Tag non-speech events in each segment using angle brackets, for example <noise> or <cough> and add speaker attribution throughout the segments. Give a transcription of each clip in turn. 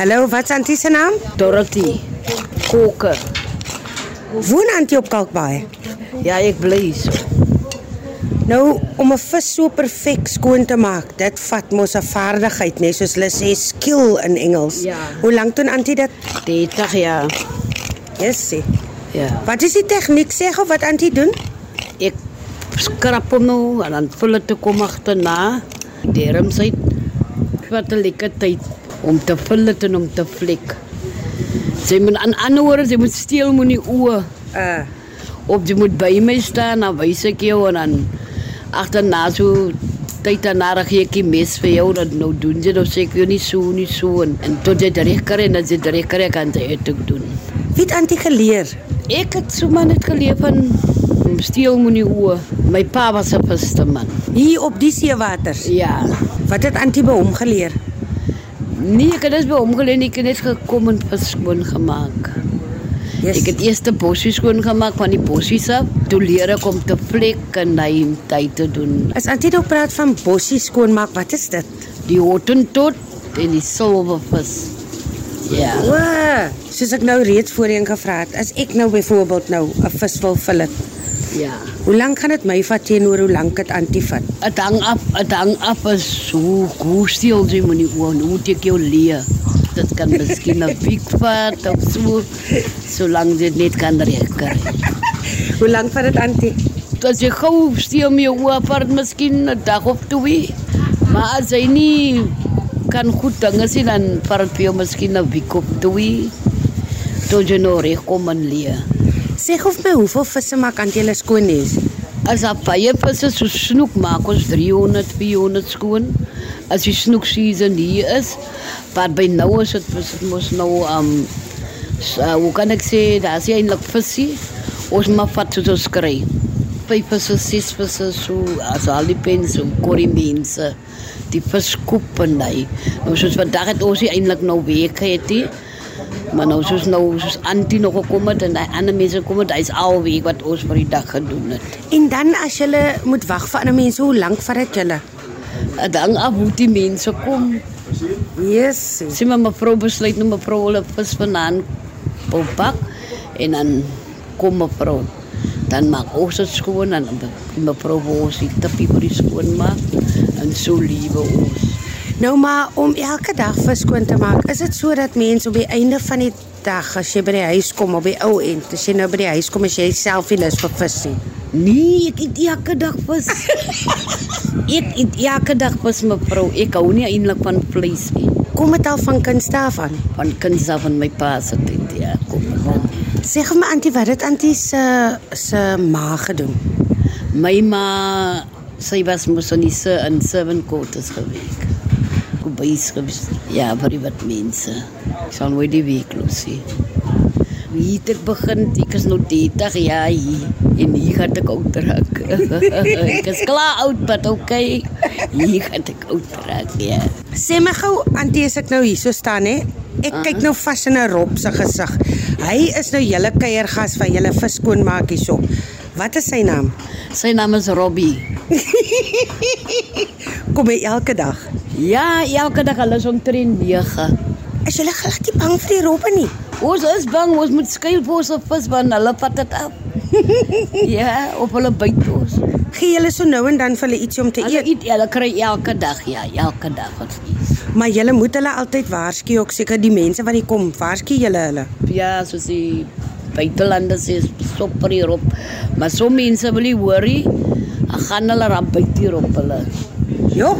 Speaker 1: Hallo, wat is Antie se naam?
Speaker 2: Dorothy. Koken.
Speaker 1: Woon Antie op Kalkbaai?
Speaker 2: Ja, ik bly so.
Speaker 1: Nou, om 'n vis so perfek skoon te maak, dit vat mos 'n vaardigheid, né, soos hulle sê skill in Engels.
Speaker 2: Ja.
Speaker 1: Hoe lank doen Antie dit?
Speaker 2: 30 jaar.
Speaker 1: Jessie.
Speaker 2: Ja.
Speaker 1: Wat is die tegniek sê gou wat Antie doen?
Speaker 2: Ek skrap hom nou en dan vul dit kom agterna. Derm sy wat 'n lekker tyd om te vul dit en om te flik. Sy moet aan ander woorde, sy moet steel moenie oë
Speaker 1: Uh,
Speaker 2: op jy moet by my staan dan wys ek jou en dan agterna so tyd daarna dan gee ek die mes vir jou dat nou doen jy nou sê ek jou nie so nie so en, en tot jy dit reg kry en as jy dit reg kry kan jy dit ook doen
Speaker 1: wie het Antie geleer?
Speaker 2: ek het so maar net geleef van steel moenie oë my pa was 'n vaste man
Speaker 1: Hier op die seewaters.
Speaker 2: ja
Speaker 1: Wat het Antie by hom geleer?
Speaker 2: nee ek het dus by hom geleen ek het net gekom en verskoon gemaak
Speaker 1: Yes.
Speaker 2: Ek het eers die bossies skoon gemaak van die bossies af. Toe leer ek om te vlek en hy tyd te doen.
Speaker 1: As Antie nou praat van bossies skoonmaak, wat is dit?
Speaker 2: die hottentot en die silvervis. Ja.
Speaker 1: O, soos ek nou reeds voorheen gevra het, as ek nou byvoorbeeld nou 'n vis wil fillet,
Speaker 2: Ja.
Speaker 1: hoe lank gaan dit my vat teenoor hoe lank dit Antie vat?
Speaker 2: Het hang af, het hang af is so goed stil jy moet nie oor hoe dit jou leer. Dit kan miskien 'n week vat of so solank dit net kan regkry.
Speaker 1: Hoe lank vat dit Antie?
Speaker 2: As jy gou stil met jou oor vat miskien 'n dag of twee. Maar as jy nie kan goed dinge sien dan vat dit vir jou miskien 'n week of twee. Tot jy nou regkom en leer.
Speaker 1: Sê gou vir my hoeveel visse maak Antie hulle skoon nes?
Speaker 2: As daar baie visse so snoek maak ons 300 400 skoon. As die snoek season hier is, wat by nou is dit is dit mos nou um so, hoe kan ek sê daar's jy eintlik visie ons maar vat so ons kry. Vyf visse, ses visse so as al die pense en korimbense die verskoop en hy. Nou soos vandag het ons nie eintlik nou week het nie. Maar nou soos nou soos Antie nog gekom het en die ander mense kom het, hy's al week wat ons vir die dag gedoen het.
Speaker 1: En dan as jy moet wag vir ander mense, hoe lank vat dit julle?
Speaker 2: Het hang af hoe die mense kom.
Speaker 1: Yes.
Speaker 2: Sê maar mevrou besluit nou mevrou hulle vis vanaand wil bak en dan kom mevrou. Dan maak ons dit skoon en dan die mevrou wil ons die tippie vir die skoon maak en so liewe ons.
Speaker 1: Nou maar om elke dag vis skoon te maak, is dit sodat mense op die einde van die dag as jy by die huis kom op die ou end, as jy nou by die huis kom as jy self nie lus vir vis nie.
Speaker 2: Nee, ek eet elke dag vis. ek eet elke dag vis mevrou. Ek hou nie eintlik van vleis nie.
Speaker 1: Kom dit al van kinds af aan?
Speaker 2: Van kinders af van my pa se tyd ja, kom van.
Speaker 1: Sê gou my antie wat het antie se se ma gedoen?
Speaker 2: My ma, sy was mos in die se in seven quarters geweek. Kubies gewees. Ja, vir die wat mense. Ek sal nooit die week los sien. Wie het ek begin? Ek is nou 30 jaar hier en hier gaan ek oud raak. <laughs> ek is klaar oud, maar okay. Hier gaan ek oud raak, ja.
Speaker 1: Sê my gou antie as ek nou hierso staan hè. Ek kyk nou vas in 'n Rob se gesig. Hy is nou julle kuiergas van julle vis skoonmaak hierso. Wat is sy naam?
Speaker 2: Sy naam is Robbie.
Speaker 1: Kom hy elke dag.
Speaker 2: Ja, elke dag hulle is omtrent 9.
Speaker 1: Is julle glad nie bang vir die robbe nie?
Speaker 2: Ons is bang ons moet skuil vir ons vis want hulle vat dit af. <laughs> ja, of hulle byt ons.
Speaker 1: Gee julle so nou en dan vir hulle ietsie om te
Speaker 2: Hulle
Speaker 1: eet,
Speaker 2: eet hulle kry elke dag, ja, elke dag wat iets.
Speaker 1: maar julle moet hulle altyd waarsku ook seker die mense wat hier kom. Waarsku julle hulle.
Speaker 2: Ja, soos die buitelanders is stopper hierop. Maar so mense wil nie hoor nie. Dan gaan hulle ram byt hier op hulle.
Speaker 1: Jo,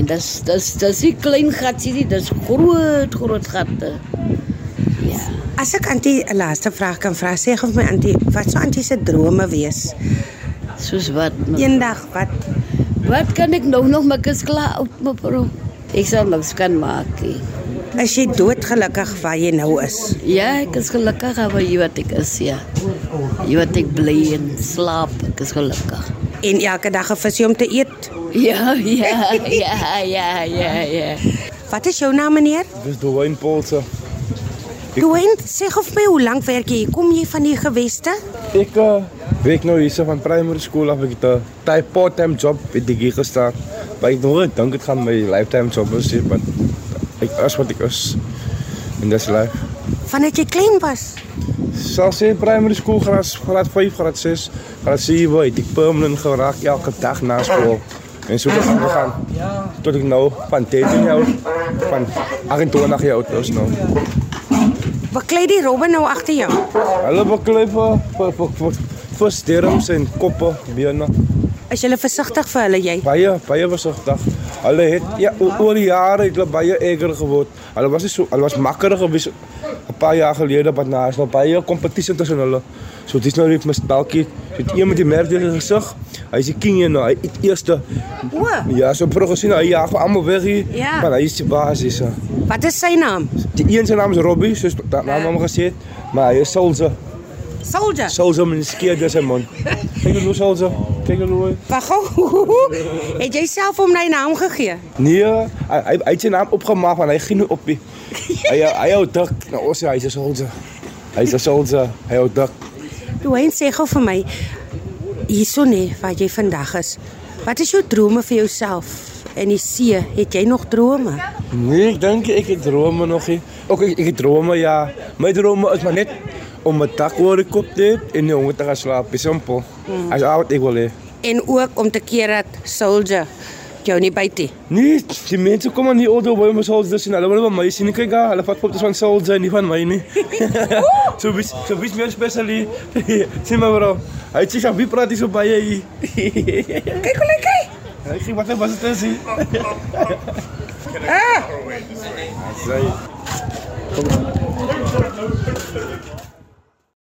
Speaker 2: En dis dis dis nie klein gatjie nie, dis groot groot gatte. Ja.
Speaker 1: as ek antie 'n laaste vraag kan vra, sê gou vir my antie, wat sou antie se drome wees?
Speaker 2: Soos wat
Speaker 1: Ja.
Speaker 2: my-
Speaker 1: Eendag wat
Speaker 2: wat kan ek nou nog maak as klaar oud mevrou? Ek sal niks kan maak nie.
Speaker 1: Is jy doodgelukkig waar jy nou is?
Speaker 2: Ja, ek is gelukkig oor hier wat ek is, ja. Hier wat ek bly en slaap, ek is <laughs> gelukkig.
Speaker 1: En elke dag 'n visie om te eet.
Speaker 2: Ja, ja, ja, ja, ja, ja.
Speaker 1: Wat is jou naam meneer?
Speaker 3: Dis Dwayne Polse.
Speaker 1: Dwayne, sê gou vir my hoe lank werk jy? hier? Kom jy van die geweste?
Speaker 3: Ek uh, werk nou hierse van primary school af. Ek het 'n type part-time job by die gig gestaan. Maar ek het nooit gedink dit gaan my lifetime job wees nie, want ek is wat ek is. and that's life.
Speaker 1: Vandat jy klein was.
Speaker 3: Selfs in primary school graad graad 5, graad 6, graad 7 het ek permanent geraak elke dag na skool. En so het ek aangegaan tot ek nou van 13 jaar oud- van 28 jaar oud is nou.
Speaker 1: Beklei die robbe nou agter jou.
Speaker 3: Hulle beklei vir vir vir- vir vir sterms en koppe, bene.
Speaker 1: Is jy versigtig vir hulle jy?
Speaker 3: Baie baie besigtig. Hulle het ja o- oor die jare het hulle baie erger geword. Hulle was nie so hulle was makkerig gewees 'n paar jaar gelede, maar nou is nou baie kompetisie tussen hulle. So dis nou net mis dalkie. Het een met die merk in die gesig. Hy's die king hier nou. Hy het eerste
Speaker 1: O,
Speaker 3: ja, so pro gesien hy jaag almal weg hier.
Speaker 1: Ja.
Speaker 3: Maar hy is die baas hier. so.
Speaker 1: wat is sy naam?
Speaker 3: Die een se naam is Robbie, soos dat naam hom gesê het, maar hy is Solze.
Speaker 1: Soldier.
Speaker 3: Solze met 'n skeer deur sy mond. Kyk hoe Solze. Kyk hoe hy
Speaker 1: Wag gou. <laughs> Het jy self hom my naam gegee?
Speaker 3: Nee, hy hy hy het sy naam opgemaak want hy gee nou op. die- Hy hy hou dik. Nou ons hy is ons. Hy is ons. Hy hou dik.
Speaker 1: Dwayne sê gou vir my hierso nê wat jy vandag is. Wat is jou drome vir jouself? En die see, het jy nog drome?
Speaker 3: Nee, ek dink ek het drome nog nie. Ook ek, ek het drome ja. My drome is maar net om 'n dak oor die kop te hê en nie honger te gaan slaap. Dis simpel. As al wat ek wil hê.
Speaker 1: En ook om te keer dat soldier jou nie byt nie.
Speaker 3: Nee, die mense kom aan die auto by my sou dis en hulle wil by my sien. Kyk daar, hulle vat foto's van sou en nie van my <laughs> nie. so bis so bis meer <laughs> specially. Sien maar bro. Hy sê jy praat hier so baie hier.
Speaker 1: Kyk hoe lyk hy.
Speaker 3: Ik ging wat even was het eens zien.
Speaker 1: Ah,
Speaker 3: Zij.